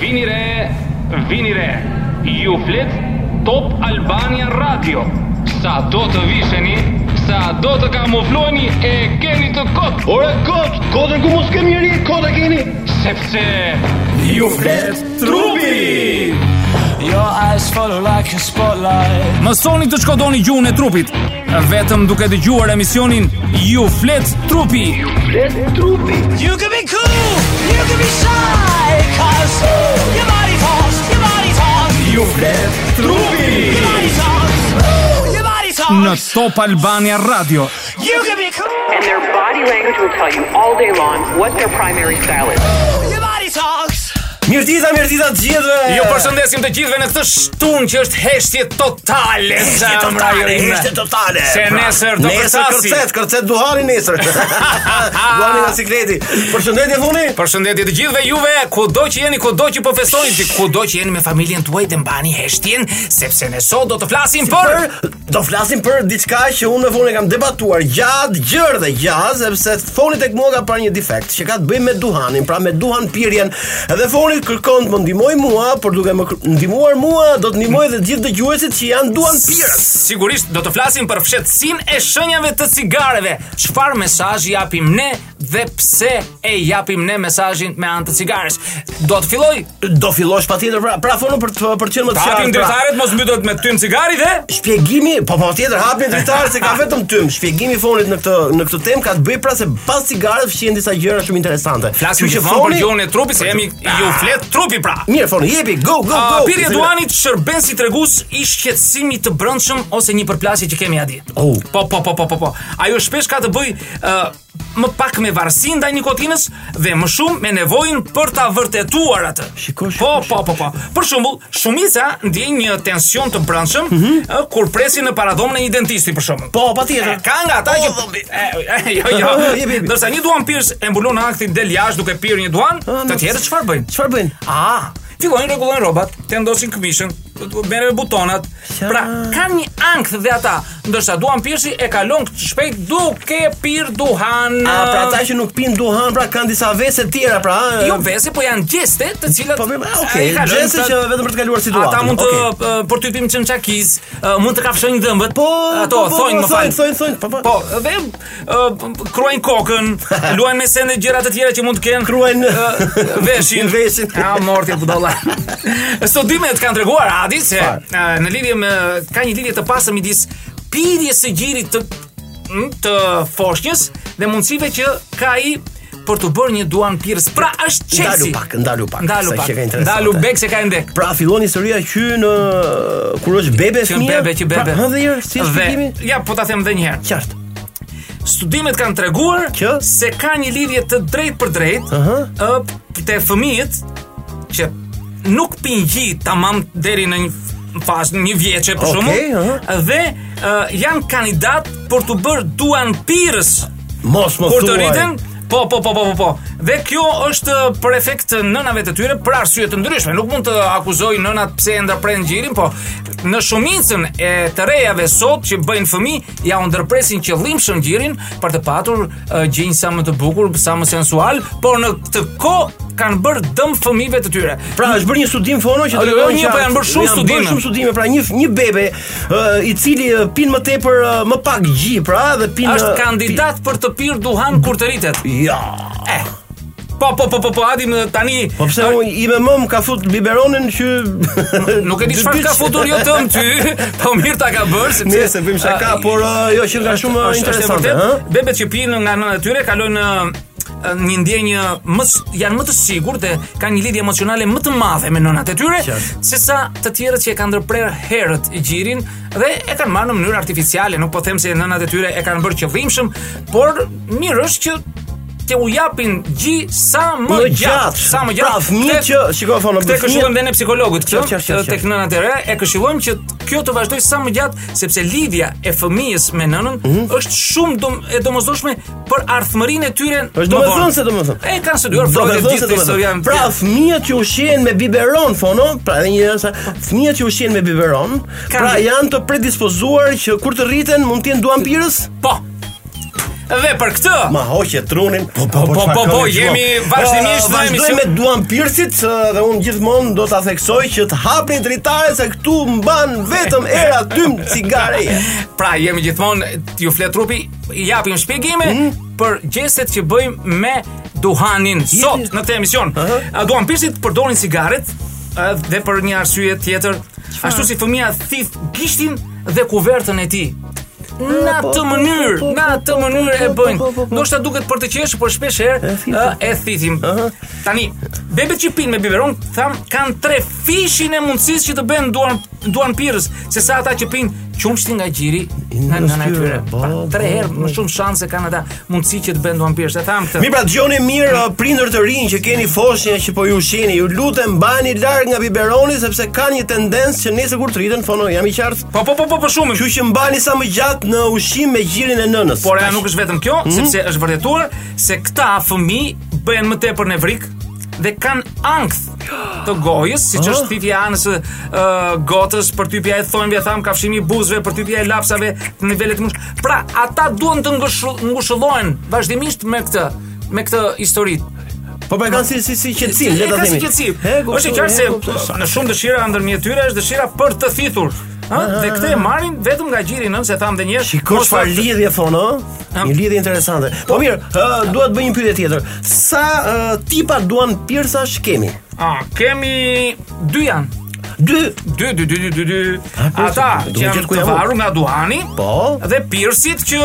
Vini re, vini re. Ju flet Top Albania Radio. Sa do të visheni, sa do të kamufloheni e keni të kot, Ore kot, kodën ku mos kemi njëri, kota keni. sepse You flet trupi Your eyes follow like a spotlight Mësoni të shkodoni gjuhën e trupit Vetëm duke të gjuar emisionin Ju flet trupi Flet trupi. You can be cool, you can be shy Cause ooh, your body talks, your body talks Ju flet Your body talks, ooh, your body talks Në Top Albania Radio You can be cool, And their body language will tell you all day long what their primary style is. ooh, your body talks Mirëtita, mirëtita të gjithëve. Ju përshëndesim të gjithëve në këtë shtunë që është heshtje totale Heshtje totale, heshtje totale. Se Pra, nesër do nesër kërcasi. kërcet, kërcet duhari nesër. duhari nga sikleti. Përshëndetje funi. Përshëndetje të gjithëve juve, kudo që jeni, kudo që po festoni, ti kudo që jeni me familjen tuaj të mbani heshtjen, sepse ne sot do të flasim për Për do flasim për diçka që unë me funi kam debatuar gjatë gjërë dhe gjatë sepse foni tek mua ka parë një defekt që ka të bëjë me duhanin, pra me duhan pirjen. Edhe foni kërkon të më ndihmoj mua, por duke më kër- ndihmuar mua do të ndihmoj edhe të gjithë dëgjuesit që janë duhan pirës. Sigurisht do të flasim për fshehtësinë e shenjave të cigareve. Çfarë mesazhi japim ne dhe pse e japim ne mesazhin me anë të cigares? Do të filloj. Do fillosh patjetër pra, pra fonu për të, për të qenë më të qartë. Hapim pra. dritaret, mos mbytet me tym cigari dhe Shpjegimi, po po tjetër hapni dritar se ka vetëm tym. Shpjegimi i fonit në këtë në këtë temë ka të bëjë pra se pas cigaret fshihen disa gjëra shumë interesante. flasim Kështu që gjithmonë për gjuhën e trupit, se jemi ju Ah. flet trupi pra. Mirë foni, jepi, go go A, go. Ah, pirje duanit shërben si tregus i shqetësimit të brendshëm ose një përplasje që kemi atje. Oh. Po, po, po, po, po, po. Ajo shpesh ka të bëj ë, më pak me varësinë ndaj nikotinës dhe më shumë me nevojën për ta vërtetuar atë. Shiko, shiko, po, po, po, po. Për shembull, shumica ndjejnë një tension të brendshëm ë, kur presin në paradhomën e një dentisti për shembull. Mhm. Po, patjetër. E, Ka nga ata që E, e, jo, jo. Jepi, jepi. Ndërsa një duan pirës e mbulon aktin del jashtë duke pirë një duan, të nuk- tjerët çfarë bëjnë? Çfarë bëjnë? A, fillojnë rregullojnë rrobat, te ndosin këmishën, merren me butonat. Pra, kanë një ankth dhe ata, ndërsa duan pirsi e kalon këtë shpejt duke pir duhan. A pra ata që nuk pinë duhan, pra kanë disa vese të tjera, pra. ë, Jo vese, po janë gjeste të cilat Po mirë, e okay, kalojnë gjese këta- që vetëm për të kaluar situatën. Ata mund të okay. okay. përtypim çmçakiz, mund të kafshojnë dhëmbët. Po, ato po, po, thonjë po, më fal. thonjë, thonjë, thonjë, po, po. Po, dhe ë, kruajnë kokën, luajnë me sende gjëra të tjera që mund të kenë. Kruajnë- ë, veshin. Veshin. A morti budalla. Studimet kanë treguar Adi se Far. ë, në lidhje me ka një lidhje të pastë midis pirjes së gjirit të m, të foshnjës dhe mundësive që ka ai për të bërë një duan pirës. Pra është Ndalu Chelsea. pak, ndalu pak. Ndalu sa pak. që ka interesante. Ndalu bek se ka e ndek. Pra fillon historia që në kur është bebe Që fëmia. bebe, që bebe. Pra, hëndhe herë, si është shpjegimi? Dhe, ja, po ta them edhe një herë. Qartë. Studimet kanë treguar Që? se ka një lidhje të drejtë për drejtë Aha. ë te fëmijët që nuk pinë gji tamam deri në një fazë një vjeçe për Okej, shembull aha. dhe ë, janë kandidat për të bërë duan pirës Mos mos kur të thuaj. rriten Po, po, po, po, po, po. Dhe kjo është për efekt të nënave të tyre për arsye të ndryshme. Nuk mund të akuzoj nënat pse e ndërpren gjirin, po në shumicën e të rejave sot që bëjnë fëmijë, ja u ndërpresin qëllimshëm gjirin për të patur uh, gjinj sa më të bukur, sa më sensual, por në këtë kohë kanë bërë dëm fëmijëve të tyre. Pra është bërë një studim fono që Jo, tregon jo, një, që po janë bërë shumë janë studime. shumë studime, pra një një bebe ë, i cili ë, pin më tepër ë, më pak gji, pra dhe pin Është ë, kandidat për të pirë duhan kur të rritet. pi- Ja. Eh. Po, po, po, po, po, adim tani Po pse unë i me mëm ka fut biberonin që Nuk e di çfarë ka futur jo tëm ty, po mirë ta ka bërë sepse Nëse bëjmë shaka, A, por ë, jo që nga shumë është- është e interesante, vërtet. ë? Bebet që pinë nga nëna e tyre kalojnë ë, një ndjenjë më s- janë më të sigurt dhe kanë një lidhje emocionale më të madhe me nënat e tyre Qartë. sesa të tjerët që e kanë ndërprerë herët i gjirin dhe e kanë marrë në mënyrë artificiale, nuk po them se nënat e tyre e kanë bërë qëllimshëm, por mirë është që që u japin gji sa më, Më gjatë. sa më gjatë. Pra fëmijë Këtë- që shikoj fono, Këtë këshillojmë dhe ne psikologut Qartë, qartë, këtë qartë, tek qartë. nënat e re e këshillojmë që t- kjo të vazhdoj sa më gjatë sepse lidhja e fëmijës me nënën Mhm. është shumë dom, e domosdoshme për ardhmërinë e tyre. më Është vonë. domethënëse domethënë. E kanë studiuar Do Freud të e thonë gjithë se të do të historian. Pra fëmijët që ushqehen me biberon fono, pra edhe një herë sa fëmijët që ushqehen me biberon, pra janë të predispozuar që kur të rriten mund të jenë duampirës? po. Dhe për këtë Ma hoqe trunin. Po po, po, çfarë po, po, këngë që jemi luam? vazhdimisht Ë, në vazhdoj emision. me duan pirsit ë, dhe unë gjithmonë do ta theksoj që të hapni dritare se këtu mban vetëm era dym cigare. Pra jemi gjithmonë ju flet trupi, i japim shpjegime për gjeset që bëjmë me duhanin sot në këtë emision. Aha. A duan pirsit përdorin cigaret a, dhe për një arsye tjetër, ashtu si fëmia thith gishtin dhe kuvertën e tij. Në atë mënyrë, në atë mënyrë e bëjnë. Ndoshta duket për të qeshur, por shpesh herë ë, po, e thithim. Tani, bebet që pinë me biberon, tham, kanë tre fishin e mundësisë që të bëjnë duan duan pirës, sesa ata që pinë qumshti nga gjiri nga nga nëna e tyre. tyre, Pra, po, tre po, herë më shumë shanse kanë ata mundësi që të bëjnë duan pirës. E tham Mi këtë. pra dëgjoni mirë ë, prindër të rinj që keni foshnjë që po ju ushqeni, ju lutem mbani larg nga biberoni sepse kanë një tendencë që nesër kur të rriten fono, jam i qartë. Po po po po po shumë. Kështu që mbani sa më gjatë në ushqim me gjirin e nënës. Por ajo nuk është vetëm kjo, Mhm. sepse është vërtetuar se këta fëmijë bëhen më tepër nevrik dhe kanë ankth të gojës, siç Ah. është thithja e anës së ë, gotës, përtypja e thonjve, tham kafshimi i buzëve, përtypja e lapsave, në nivelet mush. Pra, ata duan të ngushull- ngushëllohen vazhdimisht me këtë me këtë histori. po pra kanë si si si qetësim, le ta E ka si themi. qetësim. E, kuptoj, Është e qartë se Po, e, kuptoj. Ah, në shumë dëshira ndërmjet tyre është dëshira për të thithur. Ha, dhe këtë e marrin vetëm nga gjiri nën se tham dhe një herë. Shiko mos çfarë ta- lidhje thon, ë? Am. Një lidhje interesante. Po mirë, ë, dua të bëj një pyetje tjetër. Sa ë, tipa duan pirsash kemi? A, kemi dy janë. Dy. Dy, dy, dy, dy, dy, dy. po, Ata se- do që me janë gjithë ku të jam unë. varur nga duhani Po. dhe pirsit që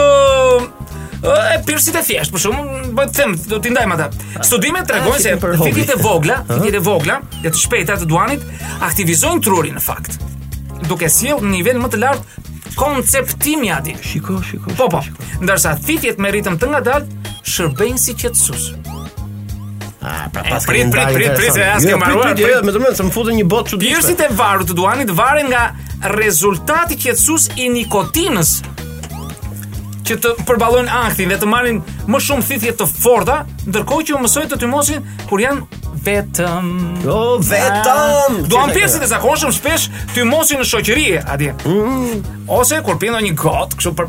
e pirsit e thjesht, për shumë, bëj të them, do t'i ndajmë ata. Studimet tregojnë si se Ah, për hobi. fitit e vogla, fitit e vogla dhe të shpejta të duanit aktivizojnë trurin në fakt, duke sjellë në nivel më të lartë konceptimi ati. Shiko, shiko. Po po, ndërsa thitjet me ritëm të ngadalt shërbejnë si qetësues. Ah, pra E, pas prit, kalendari prit, prit, interesant. prit, se as Jo, ke mbaruar, Prit, prit, jo, prit. me të mëndë, se më futën një botë çuditshme. Pirsit e varur të duanit varen nga rezultati qetësues i nikotinës që të përballojnë anktin dhe të marrin më shumë thithje të forta, ndërkohë që u mësojnë të tymosin kur janë vetëm. Jo, vetëm. Ah, Duan pirsit e zakonshëm shpesh tymosin në shoqëri, atje. Mm. Ose kur pinë një gotë, kështu për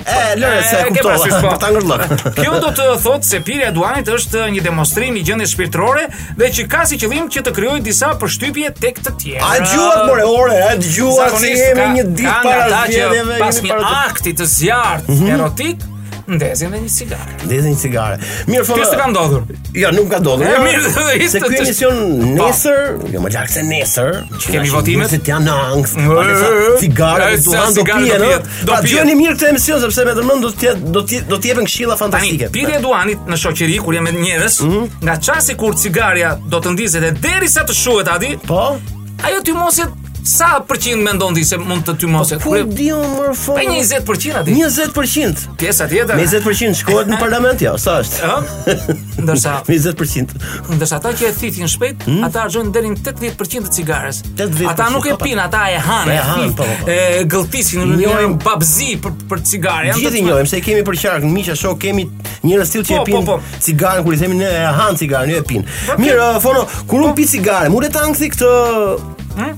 E, lëre se e ke kuptova. parasysh, po. Për ta ngërllok. Kjo do të thotë se pirja e duanit është një demonstrim i gjendjes shpirtërore dhe që ka si qëllim që të krijojë disa përshtypje tek të tjerë. A dëgjuat more ore, a dëgjuat se Zakonisht Po, jemi ka- një ditë ka nga para ata që zgjedhjeve, Mhm. Pas jemi një para të- akti të zjarrt erotik, ndezin dhe një cigare. Ndezin një cigare. Mirë, Kjo s'të ka fono. ndodhur. Jo, nuk ka ndodhur. E, Jo, mirë, dhe ishte Se ky të- emision Po. nesër, jo më lart se nesër, që Kemi na votimet? njerëzit janë në angst. Mm, pa disa mm, Cigare mm, dhe sa duhan do cigare do pijen. pijet, ë? do Pa pijet. dëgjoni mirë këtë emision sepse me dërmend do të jetë do të jetë- do të jepen këshilla Tani, fantastike. pirja e duanit në shoqëri kur jemi njerëz, Mhm. nga çasti kur cigaria do të ndizet e derisa të shuhet aty, Po. ajo tymoset sa përqind mendon ti se mund të tymoset? Po, Ku Kur- di unë më fond? Pa 20% aty. 20%. Pjesa tjetër. 20% shkohet në parlament, jo, sa është? Ë? Ndërsa 20%. ndërsa ata që e thithin shpejt, ata harxojnë deri në 80% të cigares. 80%, Ata nuk e Hmm? po, po. pinë, ata e hanë, Po, e e hanë, po, hanë, po, po. e gëlltisin, Njohin- njohin babzi për për cigare. Janë Gjithë i të- njohim se kemi për qark, miqja shoh kemi njerëz tillë që Po, e pinë po, po. cigaren kur i themi ne e han cigaren, jo e pinë. Mirë, uh, fono, kur Po. un pi cigare, më ulet ankthi këtë Hm?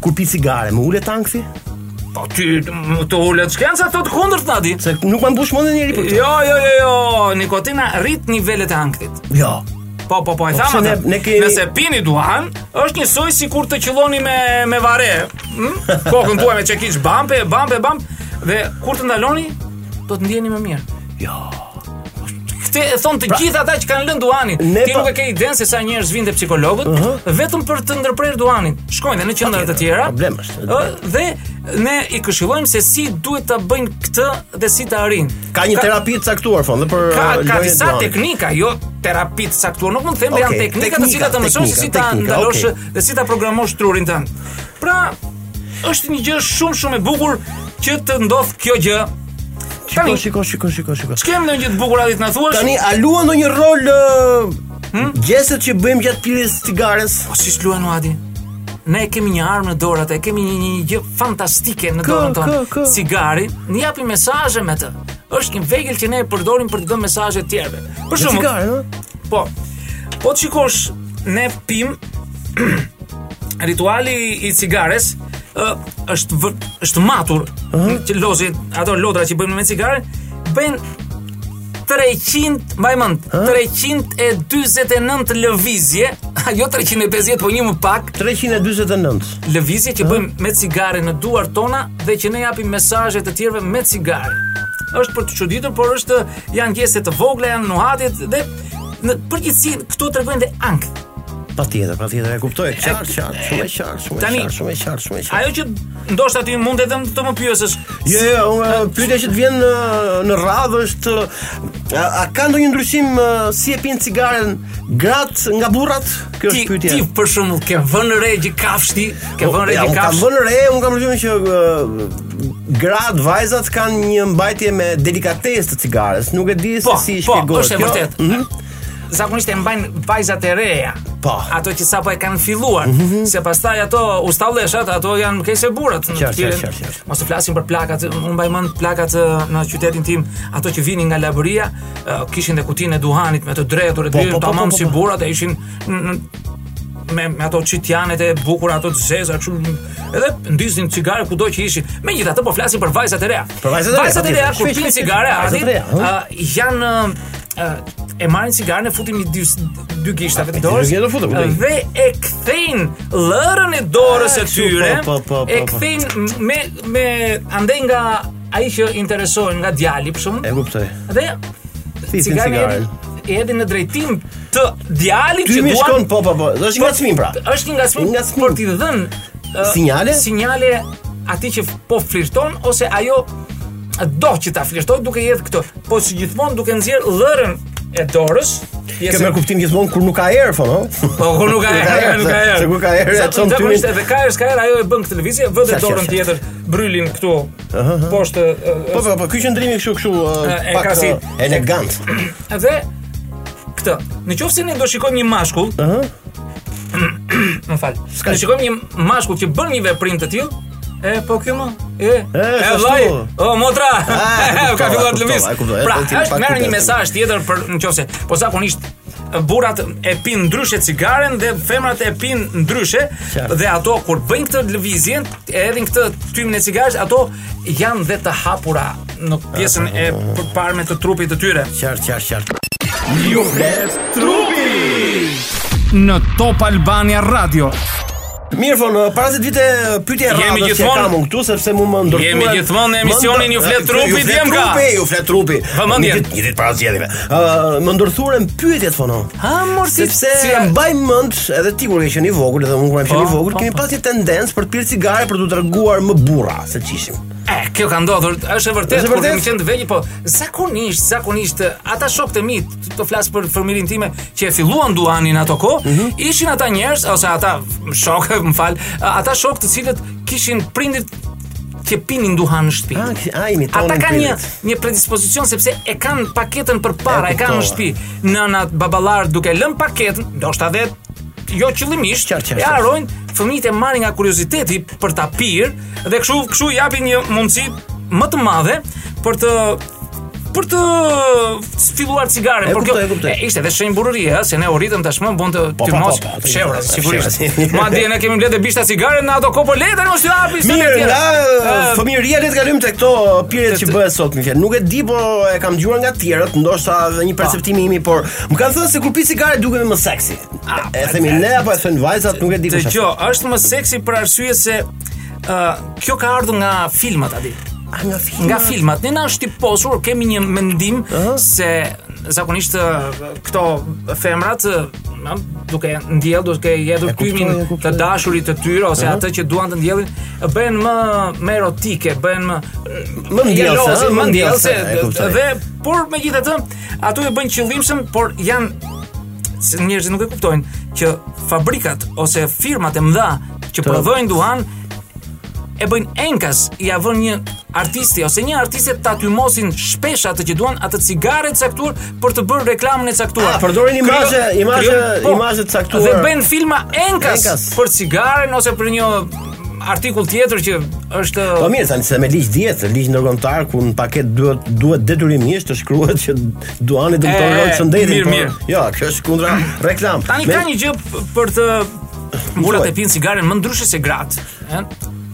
Kur pi cigare, më ulet ankthi? Po ty m- të ulet shkenca thot kundërt nadi. Se nuk ma mbush mendën njëri për këtë. Jo, jo, jo, jo, nikotina rrit nivelet e ankthit. Jo. Po, po, po, e pse thamë ne- atë. ne kemi- Nëse pini duhan, është njësoj si kur të qëlloni me, me vare. Hm? Kokën tuaj me çekiç bampe, bampe, bampe. Dhe kur të ndaloni, do të ndjeni më mirë. Jo. Këtë e thon të gjithë ata që kanë lënë duanin. Pra, Ne po- Ti pa- nuk e ke idenë se sa njerëz vinë te psikologët vetëm për të ndërprerë duanin. Shkojnë dhe në qendra të tjera. po, problem është. Ë, Dhe ne i këshillojmë se si duhet ta bëjnë këtë dhe si ta arrin. Ka një terapi të caktuar fond dhe për Ka, uh, ka lojën e disa duhanit. teknika, jo terapi të caktuar, nuk mund të them, Okej, janë teknika të teknika, cilat të mësojnë se si ta teknika, teknika, ndalosh okej. dhe si ta programosh trurin tënd. Pra, është një gjë shumë shumë e bukur që të ndodh kjo gjë. Tani, Shiko, shiko, shiko, shiko, shiko. ç'kem ndonjë gjë të bukur atë të na thuash? Tani a luan ndonjë rol uh, Hm? gjeset që bëjmë gjatë pirjes cigares? Po si s'luajnë Adi? Ne kemi një armë në dorat, e kemi një, një gjë fantastike në dorën tonë. kë. Cigari, ne japim mesazhe me të. Është një vegël që ne e përdorim për të dhënë mesazhe të tjerëve. Për Shumë. shembull, Cigare, ëh? po. Po të shikosh, ne pim rituali i cigares ë, është vër, është matur që lozi ato lodra që bëjmë me cigare bëjnë 300, mbaj mend, 349 lëvizje, jo 350, po një më pak, 349. lëvizje që bëjmë me cigare në duart tona dhe që ne japim mesazhe të tjerëve me cigare. Është për të çuditur, por është janë gjese të vogla, janë nuhatit dhe në përgjithësi këto tregojnë dhe ankth. Patjetër, patjetër, e kuptoj. Qartë, qartë, shumë e qartë, shumë e Tani- qartë, shumë e qartë, shumë e qartë. Ajo që ndoshta ti mund edhe të më pyesësh. Jo, jo, unë pyetja që të vjen në, në radhë është a, a ka ndonjë ndryshim ë, si e pin cigaren gratë nga burrat? Kjo Ti, është pyetja. Po, ti për shembull ke vënë re gjikafshti, ke vënë re Ja, unë kam gjikafsh. vënë re, unë kam përgjithësisht që ë, gratë vajzat kanë një mbajtje me delikatesë të cigares. Nuk e di se Po, si po, shpjegohet. është e kjo. vërtetë. Mhm. zakonisht e mbajnë vajzat e reja. Po. Mhm. Ato që sapo e kanë filluar, se pastaj ato ustalleshat, ato janë keqse burrat. në Qartë, tjerën- qartë, qartë, qartë. Mos të flasim për plakat, unë mbaj mend plakat eh, në qytetin tim, ato që vinin nga Labëria, eh, kishin dhe kutinë e duhanit me të drejtur e Po, po, dyrin, po, tamam po, po, si po. burrat, e ishin n- n- me, me ato qitjanet e bukura, ato të zeza, kështu. Edhe ndiznin cigare kudo që ishin. Megjithatë po flasim për vajzat e reja. Për vajzat e reja, Vajzat e reja patjetër. kur Shpesh, pinë shpesh, cigare, vajzat e ardhin, reja, ëh. ë, janë ë, e marrin cigaren e futin i dy, dy gishtave të dy dorës gishtave futin, ë, kujtoj. dhe e kthejnë lërën e dorës Ah, e kështu, tyre po, po, po, po, e po. kthejnë me, me andej nga ai që interesohen nga djali për E shumë kuptoj. dhe Thithin cigaren e cigaren. hedhin- e hedhin në drejtim të djalit që Tymi duan shkon po po po. Do është ngacmim pra. është një ngacmim Një ngacmim. për t'i dhënë ë, Sinjale? Sinjale atij që po flirton ose ajo do që ta flirtoj duke jetë këto, po si gjithmonë duke nxjerr lërën e dorës. Kjo pjesën- merr kuptim gjithmonë kur nuk ka erë, po, no? Po kur nuk ka Nuk ka erë, erë, nuk ka se- erë. se kur ka erë, Sa e çon zakonisht tymin. Edhe ka erë, s'ka erë, ajo e bën këtë lëvizje, vë dhe Qa, qa, dorën qa. tjetër, brylin këtu poshtë ë, Po po po, ky qëndrimi kështu kështu ë, E, e pak ka si- ë, elegant. Dhe këtë, në qoftë se ne do shikojmë një mashkull, ëh, më fal. S'ka Ne gjë. shikojmë një mashkull që bën një veprim të tillë, e po ky më, e, E, s'ashtu. vllai, o motra, Ah, e kuptova, ka e filluar të kuptova, lëviz. e kuptova, e Pra, do t'im është pak merr një kujdes. mesazh tjetër për në qoftë se, po zakonisht burrat e pinë ndryshe cigaren dhe femrat e pinë ndryshe Qartë. dhe ato kur bëjnë këtë lëvizje, e hedhin këtë tymin e cigares, ato janë dhe të hapura në pjesën e përparme të trupit të tyre. Qartë, qartë, qartë. Në Top Albania Radio. Mirë fon, para se të vite pyetja e Jemi radhës që gjithmonë- kam unë këtu sepse mu më ndërtuan. Jemi gjithmonë në më emisionin ndër- Ju flet eh, trupi, Ju flet djem ka. trupi, ju flet trupi. Vëmendje. Një ditë, një ditë para zgjedhjeve. Ë, më ndërthurën pyetjet fono. Ha, mor, si- sepse si- mbaj mend edhe ti kur ke qenë i vogël edhe unë kur jam qenë i Po, vogël po, kemi po. pasur tendencë për të pirë cigare për t'u treguar më burra se çishim. E, kjo ka ndodhur, është e vërtetë, Është e kur vërtetë? kemi qenë të vegjël, po zakonisht, zakonisht ata shokët e mi, t- të flas për fëmirin time që e filluan duanin ato kohë, Mhm. ishin ata njerëz ose ata shokë, më fal, ata shokë të cilët kishin prindit që pinin duhan në shtëpi. Ah, kish- ah, imitonin Ata kanë një prindit. një predispozicion sepse e kanë paketën përpara, E e, kanë në kuptova. shtëpi. Nëna, baballar duke lënë paketën, ndoshta edhe jo qëllimisht, Qartë, qartë, e qartë. harrojnë fëmijët e marrin nga kurioziteti për ta pirë dhe kështu kështu i japin një mundësi më të madhe për të për të filluar cigaren, E por kuptoj, e kuptoj. e, ishte edhe shenjë burrërie, ë, se ne u ritëm tashmë bën të Po, po, të mos po, po, fshehura po, po, sigurisht. fshehura. Madje ne kemi mbledhë bishta cigare në ato kopoleta, mos ju hapi se Mirë, nga tjera. Ehm, ë, fëmijëria le të kalojmë tek këto pirjet që bëhet sot më fjalë. Nuk e di, po e kam dëgjuar nga të tjerët, ndoshta edhe një perceptimi im, por më kanë thënë se kur pi cigare dukemi më seksi. Ah, E themi ne apo e thënë vajzat, nuk e di Të kush. e gjo, është më seksi për arsye se uh, kjo ka ardhur nga filmat aty. thënë. Ah, nga filma. Nga filmat, ne na është tiposur, kemi një mendim se zakonisht uh, këto femrat uh, duke ndjell, duke hedhur E kuptoj, tymin e kuptoj. të dashurit të tyre ose atë që duan të ndjellin, bëhen më më erotike, bëhen më Më ndjellse, jelose, ëh, më më ndjellse. ndjellse, eh, e kuptoj. eh, Dhe por megjithatë, ato e bëjnë qëllimshëm, por janë se njerëzit nuk e kuptojnë që fabrikat ose firmat e mëdha që prodhojnë duhan e bëjnë enkas i avën një artisti ose një artiste ta tymosin shpesh atë që duan atë cigare të caktuar për të bërë reklamën e caktuar. Ah, përdorin Krijo- imazhe, imazhe, krijo- po, imazhe të caktuar. Dhe bëjnë filma enkas, Enkas. për cigaren ose për një artikull tjetër që është Po mirë, tani se me ligj dihet, ligj ndërkombëtar ku në paket duhet duhet detyrimisht të shkruhet që duani dëmton E, rrot shëndetin. Eh, mirë, por- mirë. Ah, Jo, kjo është kundra reklam. Tani Me- ka një gjë p- për të murat Thuaj. e pinë cigaren më ndryshe se gratë, ëh.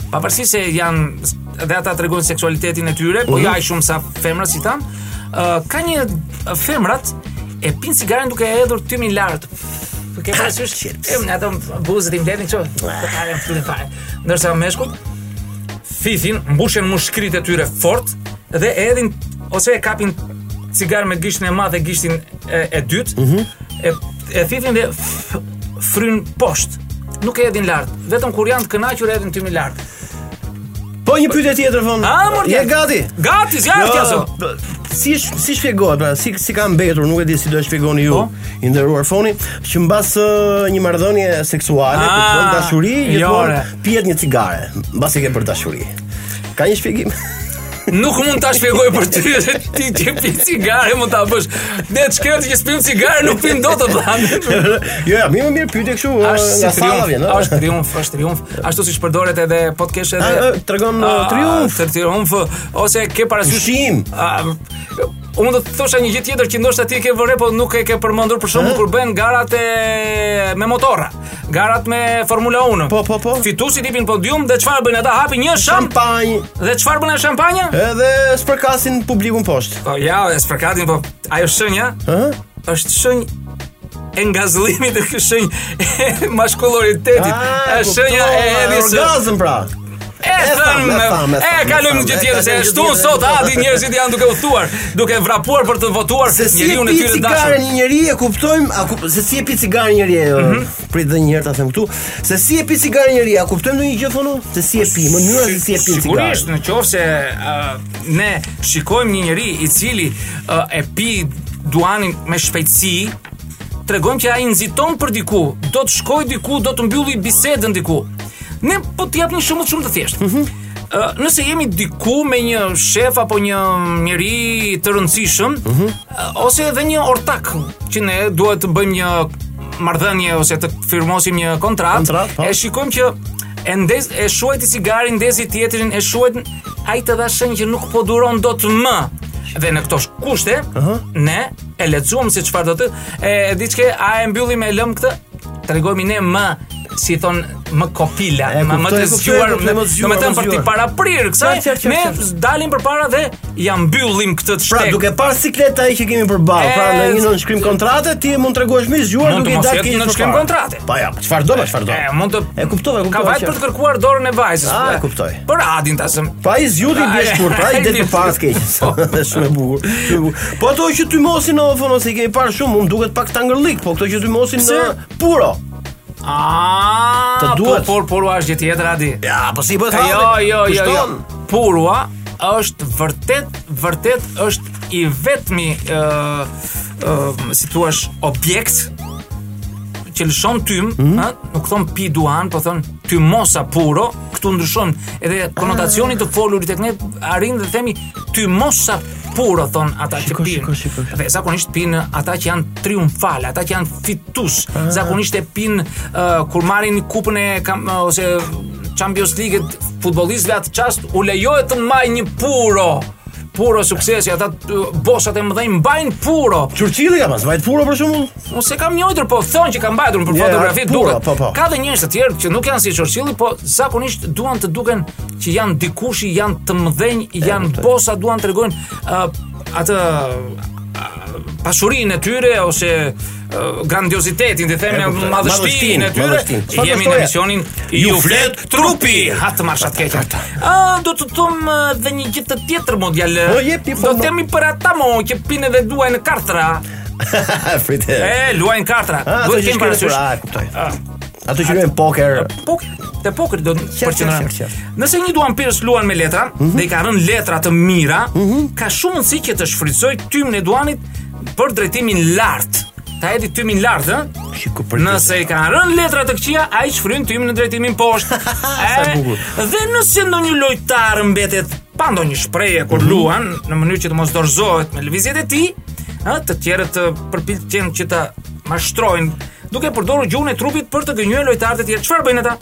Pavarësisht se janë dhe ata tregojnë seksualitetin e tyre, po jo aq shumë sa femrat si tham, Ë, ka një femrat e pin cigaren duke e hedhur tymin lart. Po ke parasysh? Chips. E unë ato buzët i mbledhin kështu. Po ka në fillin fare. Ndërsa meshkut fifin, mbushin mushkëritë e tyre fort dhe e hedhin ose e kapin cigare me gishtin e madh dhe gishtin e, e dytë. Mhm. E e fifin dhe f- fryn poshtë. Nuk e hedhin lart. Vetëm kur janë të kënaqur e hedhin tymin lart. Po një pyetje tjetër von. A, mor, Je gati? Gati, zjarr ti aso. p- Jo, si sh- si shpjegohet pra, si si ka mbetur, nuk e di si do e shpjegoni ju, Po. i nderuar foni, që mbas ë, një marrëdhënie seksuale, Ah, ku bën dashuri, jore. gjithmonë pihet një cigare, mbas e ke për dashuri. Ka një shpjegim? Nuk mund ta shpjegoj për ty se ti që pi cigare mund ta bësh. Ne të shkret që s'pim cigare nuk pim dot të dhanë. jo, ja, më mirë pyetje kështu, ë, Është si nga salla triumf, vjen, ë. është triumf, është triumf. Ashtu si shpërdoret edhe po të kesh edhe A, ë, tregon, ë, A, Ah, triumf. të Po, triumf ose ke parasysh Ushqim. A, Unë do të thosha një gjë tjetër që ndoshta ti e ke vënë, po nuk e ke përmendur për shembull kur bëhen garat e me motorra, garat me Formula 1. Po, po, po. Fituesit hipin podium dhe çfarë bëjnë ata? Hapin një shamp Shampanjë dhe çfarë bën e shampanja? edhe spërkasin publikun poshtë. Po ja, e spërkatin, po ajo shenja Ëh? është shenjë e ngazllimit të ky shenjë e maskulinitetit. Ah, Është shenja e kuptova, edhis. orgazm pra. E tham, e tham, thënë, e e tham, kalojmë e në gjë tham, e tjetër se kalojmë gjë shtu tjetër. sot adi njerëzit janë duke u thuar, duke vrapuar për të votuar Se si e njeriu në pi tyre të cigare dashur. një njeri e kuptojmë, a kup, se si e pi cigare një njeri, mm Mhm. prit dhe një herë ta them këtu, se si e pi cigare një njeri, a kuptojmë ndonjë gjë fonu? Se si e pi, mënyra se si e pi cigare. Sigurisht, në qofë se uh, ne shikojmë një njeri i cili uh, e pi duanin me shpejtësi, tregojmë që ai nxiton për diku, do të shkojë diku, do të mbylli bisedën diku. Ne po të jap një shembull shumë të thjeshtë. Mhm. Ë, nëse jemi diku me një shef apo një njeri të rëndësishëm, Mhm. ë, ose edhe një ortak që ne duhet të bëjmë një marrëdhënie ose të firmosim një kontratë, Kontratë, po. e shikojmë që e ndez e shuajti cigaren, ndezi tjetrin, e shuajt ai të dha shenjë që nuk po duron dot më. Dhe në këto kushte, ne e lexuam se çfarë do të, e diçka a e mbyllim e lëm këtë, tregojmë ne më si thon më kopila, E, më më kuptoj, të kuptoj, zgjuar, kuptoj, më zgjuar, domethënë më për t'i zgjuar. paraprirë kësaj, Qartë, qartë, qartë, ne qartë. dalim përpara dhe ja mbyllim këtë të Pra, shtek. duke parë siklet ai që kemi përballë, pra në një nën shkrim kontrate ti mund tregosh më i zgjuar Mund të duke i mos dalë jetë keq në shkrim përpara. kontrate. Pa ja, çfarë do, pa, çfarë do. E, mund të E kuptova, e kuptova. Ka vajt qartë. për të kërkuar dorën e vajzës. Ah, pra. e kuptoj. Për Adin tasëm. Pa i zgjudhi Ai- bie shkurt, pra i ai Po. det për bie- para skeq. Është shumë e bukur. shumë e bukur. Po ato që ty mosin në fon ose i kemi parë shumë, umë duket pak tangërlik, po këto që ty mosin në puro. Ah, Të po, duhet. Por por u është gjë tjetër Adi. Ja, po si bëhet Jo, halli? jo, jo, jo. Kushton. Purua është vërtet vërtet është i vetmi ë ë si thua objekt që lëshon tym, Mhm. ha, nuk thon pi duan, po thon ty mosa puro, këtu ndryshon edhe Ah. konotacioni të folurit tek ne arrin dhe themi ty mosa puro thon ata që Shiko, pin. shiko, shiko, shiko. Dhe zakonisht pin ata që janë triumfale, ata që janë fitus. Ah. Zakonisht e pin uh, kur marrin kupën e kam, uh, ose Champions League-et futbollistëve atë çast u lejohet të mbajnë një puro puro suksesi, ata uh, bosat e mëdhenj mbajnë puro. Churchilli ka pas vajt puro për shembull. Unë se kam njëjtër, po thonë që kam mbajtur për Ja, fotografi pura, duket. po, po. Ka dhe njerëz të tjerë që nuk janë si Churchilli, po zakonisht duan të duken që janë dikushi, janë të mëdhenj, janë bosa, duan t'rregojnë ë, atë ë, pasurinë e tyre ose ë, grandiozitetin, të E, themi kuptoj. madhështinë e tyre. Madhështinë, madhështinë. Jemi në Çfarë emisionin Ju Ju flet flet trupi, trupi. ha të marshat keqe. Ë, do të them ë, dhe një gjë të tjetër mo djalë. Po, jep, jep, Do po, të themi për ata mo që pinë dhe duajnë kartra. Fritë. E, luajnë kartra. Ah, ato Duhet të që kemi shkruajnë parasysh. pura, e kuptoj. Ah. Ato që luajnë poker. Pok, te poker do të Qartë, përqendrohem. qartë, qartë. Nëse një duan pirës luan me letra Mhm. dhe i ka rënë letra të mira, ka shumë mundësi që të shfrytëzoj tymin e duanit për drejtimin lart. Ta hedhi tymin lart, ë? Shiku për Nëse i ka rënë letra të këqija, ai shfryn tymin në drejtimin poshtë. Sa E, bukur. Dhe nëse ndonjë lojtar mbetet pa ndonjë shprehje kur Mhm. luan, në mënyrë që të mos dorëzohet me lëvizjet e tij, ë, të tjerët të përpiqen që ta mashtrojnë duke përdorur gjuhën e trupit për të gënjur lojtarët e tjerë. Çfartë bëjnë ata?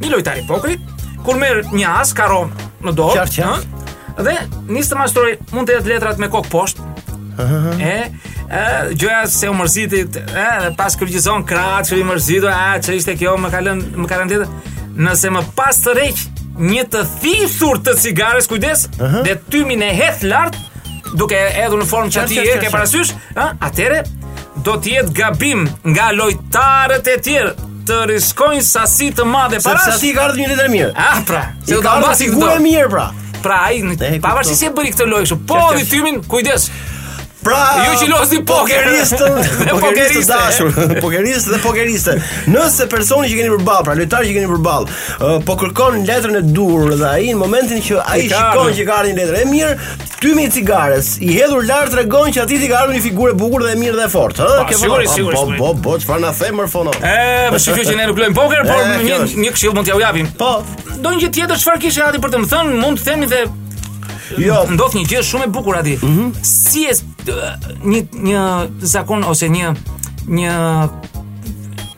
Një lojtar i pokerit, kur merr një as karo në dorë, Qartë, qartë. ë, dhe nis të mashtroj, mund të jetë letrat me kokë poshtë, E, e gjoja se u mërzitit, e, dhe pas kërgjizon kratë që i mërzitur, e, që ishte kjo, më kalën, më kalën tjetër, nëse më pas të req, një të thithur të cigares, kujdes, dhe tymin e heth lartë, duke e hedhur në formë që Qartë, ti qartë, e qartë, ke parasysh, ë? Atëre do të jetë gabim nga lojtarët e tjerë të riskojnë sasi të madhe Sepse parash. aty i ka ardhur një letër mirë. Ah, pra, se I do ka ta ardhur mbasi figura këtë. mirë pra. Pra ai në- E, kuptoj. pavarësisht se e bëri këtë lojë kështu, po Qartë, qartë. dhitimin, kujdes. Pra Ju që losni poker. pokeristën, Dhe pokeristën pokeriste. dashur, pokeristë dhe pokeriste. Nëse personi që keni përballë, pra lojtari që keni përballë, ë, po kërkon letrën e dur dhe ai në momentin që ai E ka shikon ardhur. që ka ardhur një letër e mirë, tymi i cigares i hedhur lart tregon që aty ti ka ardhur një figurë e bukur dhe e mirë dhe e fortë, ë? Pa, Ke sigurisht, vëllai? sigurisht, po. Po, po, po, çfarë na themër fono? E, po shikoj që ne nuk luajmë poker, por E, kjo një është. një këshill mund t'ja u japim. Po. Do një gjë tjetër çfarë kishe Adi për të më thënë, mund të themi dhe Jo, Mhm. ndodh një gjë shumë e bukur Adi. Si e s- d- një një zakon ose një një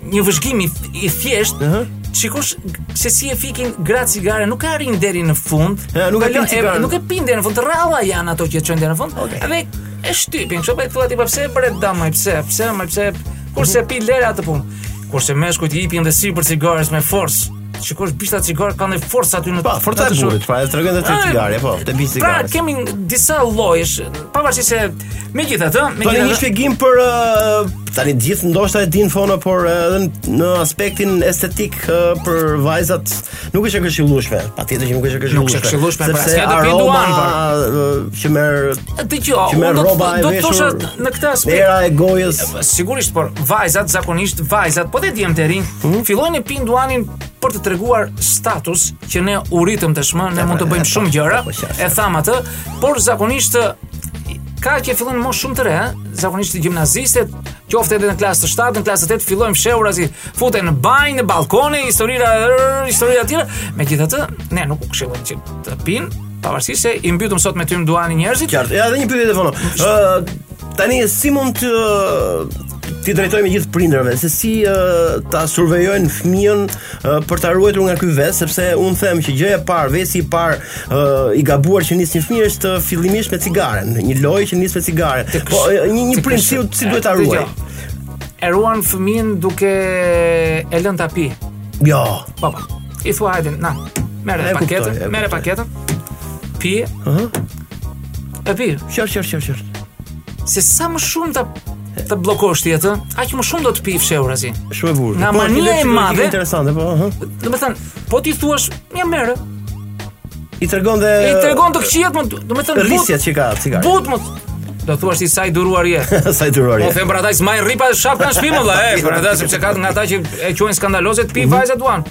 një vëzhgim i, i thjesht Shikosh se si e fikin gratë cigare nuk ka rin deri në fund. E, nuk e Kalon- pin cigaren. Nuk e pin deri në fund. të Rralla janë ato që e çojnë deri në fund. Okej. Dhe e shtypin. Kështu po e thua ti "Pa pse e bëre dama, pse, pse, më pse kurse Mhm. pi lera atë punë. Kurse meshkujt i hipin dhe si për cigares me forcë. Shikosh bishta cigare kanë dhe forcë aty në pa, forca në atë e shu- burrit, pra e tregon edhe te Ah, cigare, po, te bi Pra cigare. kemi disa llojesh, pavarësisht se megjithatë, Tani Po, një megjithatë shpjegim për ë, tani gjithë ndoshta e din fona, por uh, edhe në- në aspektin estetik ë, për vajzat nuk është e këshillueshme. Patjetër që nuk është e këshillueshme. Nuk është e këshillueshme, pra, sepse s'ka të pi aroma duan, pra. ë, që merr dëgjoj, që unë merr do rroba të e do të thosha veshur. në këtë aspekt Era e gojës. sigurisht por vajzat zakonisht vajzat po dhe djemt e rinj fillojnë e pin duanin për të treguar status që ne u ritëm tashmë ne mund të pra, bëjmë e, shumë po, gjëra po, qartë, e tham atë por zakonisht ka që fillojnë më shumë të re ha? zakonisht gjimnazistët qoftë edhe në klasë të 7 në klasë të 8 fillojnë fshehura si futen në banjë në balkone historira rrr, historira të tjera megjithatë ne nuk u këshillojmë që të pin pavarësisht se i mbytëm sot me tym duani njerëzit Qartë. Ja, edhe një pyetje fono. Ë tani si mund të ti drejtojmë gjithë prindërve se si ë, ta survejojnë fëmijën ë, për ta ruajtur nga ky ves, sepse un them që gjëja e parë, vesi i parë ë, i gabuar që nis një fëmijë është ë, fillimisht me cigaren, një lojë që nis me cigaren. Po ë, një një Të prind si këshë- si duhet ta Dëgjoj, ruaj? E ruan fëmin duke e lënë ta pi. Jo. Po, po. I thua hajde, na. Merre E kuptoj, paketën, e merre kuptoj. paketën. Pi. E pi. Qartë, qartë, qartë, qartë. Se sa më shumë ta të bllokosh ti atë, aq më shumë do të pi fshehurazi. Shumë e vurë. Nga Po, mania kjo e është madhe- Interesante, po. ëh. Do të thënë, po ti thuash, ja merre. I tregon dhe I tregon të këqijat, më do të thënë rrisjet që ka cigare. But më do thuash ti sa i duruar je. Sa i duruar Po je. them për ata që s'majnë ripa shapkan shpimë valla, e, për ata sepse ka nga ata që e quajnë skandaloze të pi Mhm. vajzat duan.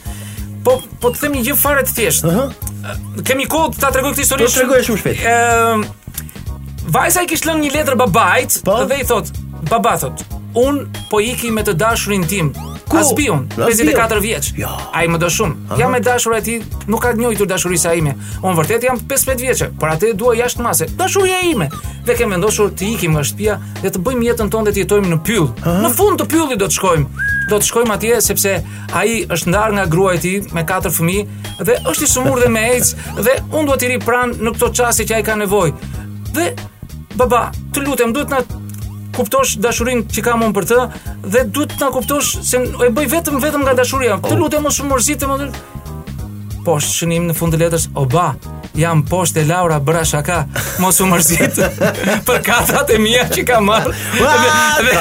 Po po të them një gjë fare të thjeshtë. Aha. Kemi kohë ta tregoj këtë histori. Po, tregoj shumë shpejt. Ëm Vajza i kishtë lënë një letër babait Po. dhe i thot, baba thot, un po iki me të dashurin tim. Ku? Aspiun, Në Asbiun? 54 vjeç. Ja. Ai më do shumë. Jam me dashura e tij, nuk ka njohur dashurisë ime. Un vërtet jam 15 vjeçë, por atë e dua jashtë mase. Dashuria ime. Dhe kem vendosur të ikim nga shtëpia dhe të bëjmë jetën tonë dhe të jetojmë në pyll. Në fund të pyllit do të shkojmë. Do të shkojmë atje sepse ai është ndar nga gruaja e tij me katër fëmijë dhe është i sumur dhe me AIDS dhe un duhet i ri pranë në këto çaste që ai ka nevojë. Dhe baba, të lutem, duhet na kuptosh dashurinë që kam unë për të dhe duhet të na kuptosh se e bëj vetëm vetëm nga dashuria. Po. Të lutem mos u mërzitë më. Po shënim në fund të letrës, o ba, jam poshtë e Laura bëra shaka, mos u mërzit për katrat e mia që ka marrë. Dhe- Ua, dhe-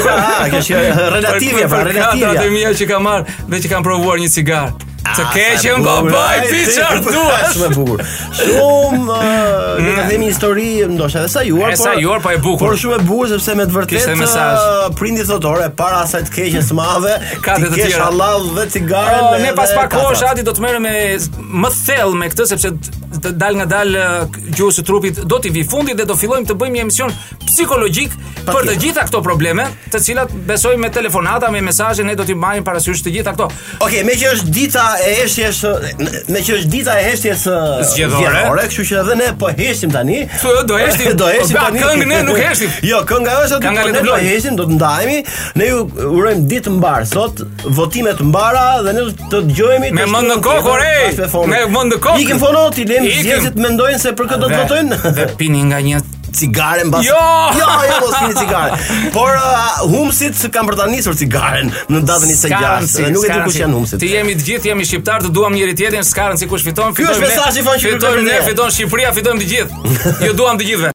pra, kjo është relative, pra, për relative. katrat e mia që ka marrë dhe që kanë provuar një cigar. Të keqen po baba, i pi çfarë duash. Shumë e bukur. Shumë ë, le të themi histori ndoshta edhe sajuar, E sajuar, po e bukur. Por shumë e bukur sepse me të Kishte vërtetë mesazh. ë, prindi thotë ore para asaj të keqe së madhe, Ka dhe ti të kesh tjera. Allah dhe cigare. Oh, ne pas pak kohësh ati do të merrem me më thellë me këtë sepse t- të dal nga dal ë, k- gjuhës së trupit do t'i vi fundi dhe do fillojmë të bëjmë një emision psikologjik për të tjetër. gjitha këto probleme, të cilat besoj me telefonata, me mesazhe ne do t'i marrim parasysh të gjitha këto. Okej, me që është dita e heshtjes, ë, me që është dita e heshtjes ë, Zgjedhore. zgjedhore, kështu që edhe ne po heshtim tani. Thu, do heshtim. do heshtim Po, pa, tani. këngë ne nuk heshtim. Jo, kënga është aty. Kënga po le Ne të do blojmë. heshtim, do të ndahemi. Ne ju urojmë ditë të mbar sot, votime të mbara dhe ne do të dëgjohemi Me të mend në shtunën kokë, tjetër, ore! bashkë fonin. Me mend në kokë. Ikim fonot, i lem Ikim. zgjedhësit mendojnë se për këtë do të votojnë. dhe pini nga një cigare mbas. Jo! jo, jo mos pini cigare. Por uh, humsit kanë për ta nisur cigaren në datën 26 dhe nuk e di kush janë humsit. Ti jemi të gjithë, jemi shqiptar, të duam njëri tjetrin, s'ka rëndësi kush fiton, Ky është fitojmë ne, mesazhi, faqe, ky Fitojmë kërkojmë ne, ne. fiton Shqipëria, fitojmë të gjithë. Ju duam të gjithëve.